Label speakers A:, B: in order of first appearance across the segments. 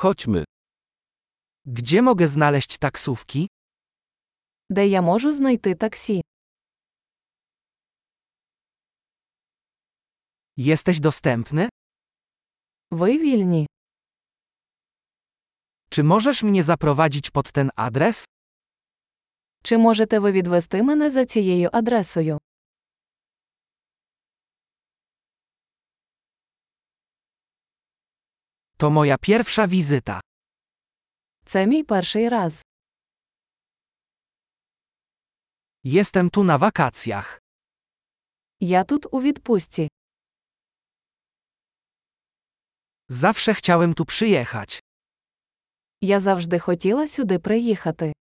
A: Chodźmy.
B: Gdzie mogę znaleźć taksówki?
C: Де я можу знайти таксі?
B: Jesteś dostępny?
C: Ви вільні?
B: Czy możesz mnie zaprowadzić pod ten adres?
C: Чи можете ви відвести мене за цією адресою?
B: To moja pierwsza wizyta.
C: Це мій перший раз.
B: Jestem tu na wakacjach.
C: Я тут у відпустці.
B: Zawsze chciałem tu przyjechać.
C: Я завжди хотіла сюди приїхати.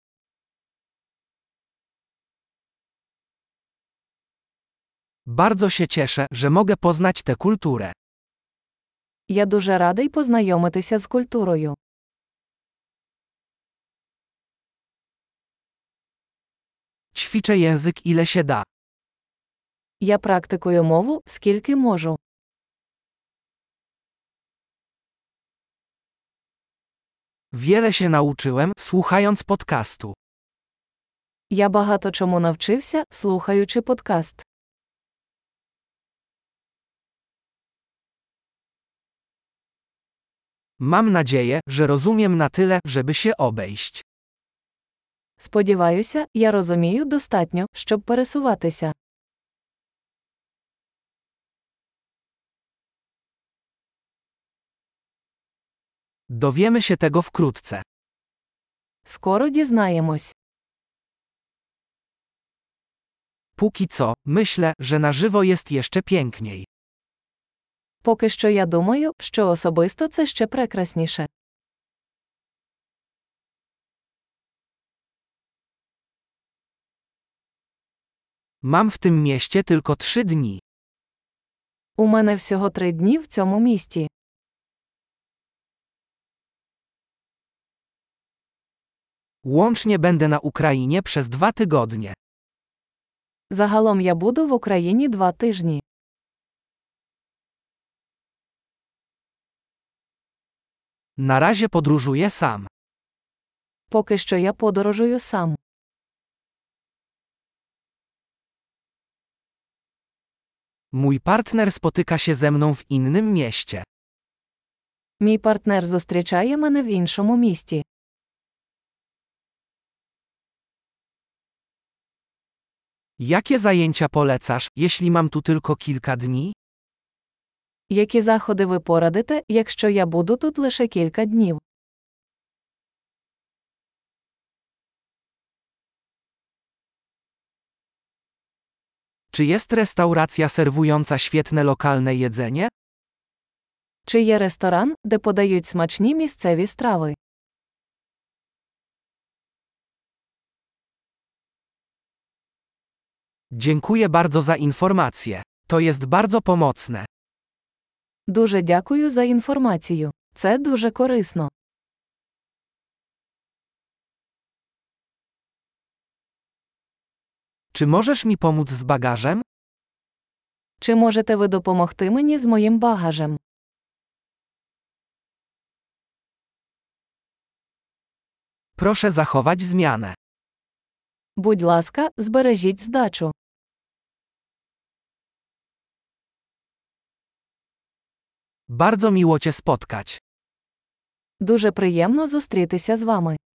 B: Bardzo się cieszę, że mogę poznać tę kulturę.
C: Я дуже радий познайомитися з культурою.
B: Ćwiczę język ile się da.
C: Я практикую мову скільки можу.
B: Wiele się nauczyłem, słuchając podcastu.
C: Я багато чому навчився, слухаючи подкаст.
B: Mam nadzieję, że rozumiem na tyle, żeby się obejść.
C: Сподіваюся, я розумію достатньо, щоб пересуватися.
B: Dowiemy się tego wkrótce.
C: Скоро дізнаємось.
B: Póki co, myślę, że na żywo jest jeszcze piękniej.
C: Поки що я думаю, що особисто це ще прекрасніше.
B: Mam w tym mieście tylko trzy dni.
C: У мене всього три дні в цьому місті.
B: Łącznie będę na Ukrainie przez dwa tygodnie.
C: Загалом я буду в Україні два тижні.
B: Na razie podróżuję sam.
C: Поки що я подорожую сам.
B: Mój partner spotyka się ze mną w innym mieście.
C: Мій партнер зустрічає мене в іншому місті.
B: Jakie zajęcia polecasz, jeśli mam tu tylko kilka dni?
C: Які заходи ви порадите, якщо я буду тут лише кілька днів?
B: Czy jest restauracja serwująca świetne lokalne jedzenie?
C: Чи є ресторан, де подають смачні місцеві страви?
B: Dziękuję bardzo za informacje. To jest bardzo pomocne.
C: Дуже дякую за інформацію. Це дуже корисно.
B: Czy możesz mi pomóc z bagażem?
C: Чи можете ви допомогти мені з моїм багажем?
B: Proszę zachować zmianę.
C: Будь ласка, збережіть здачу.
B: Bardzo miło Cię spotkać.
C: Дуже приємно зустрітися з вами.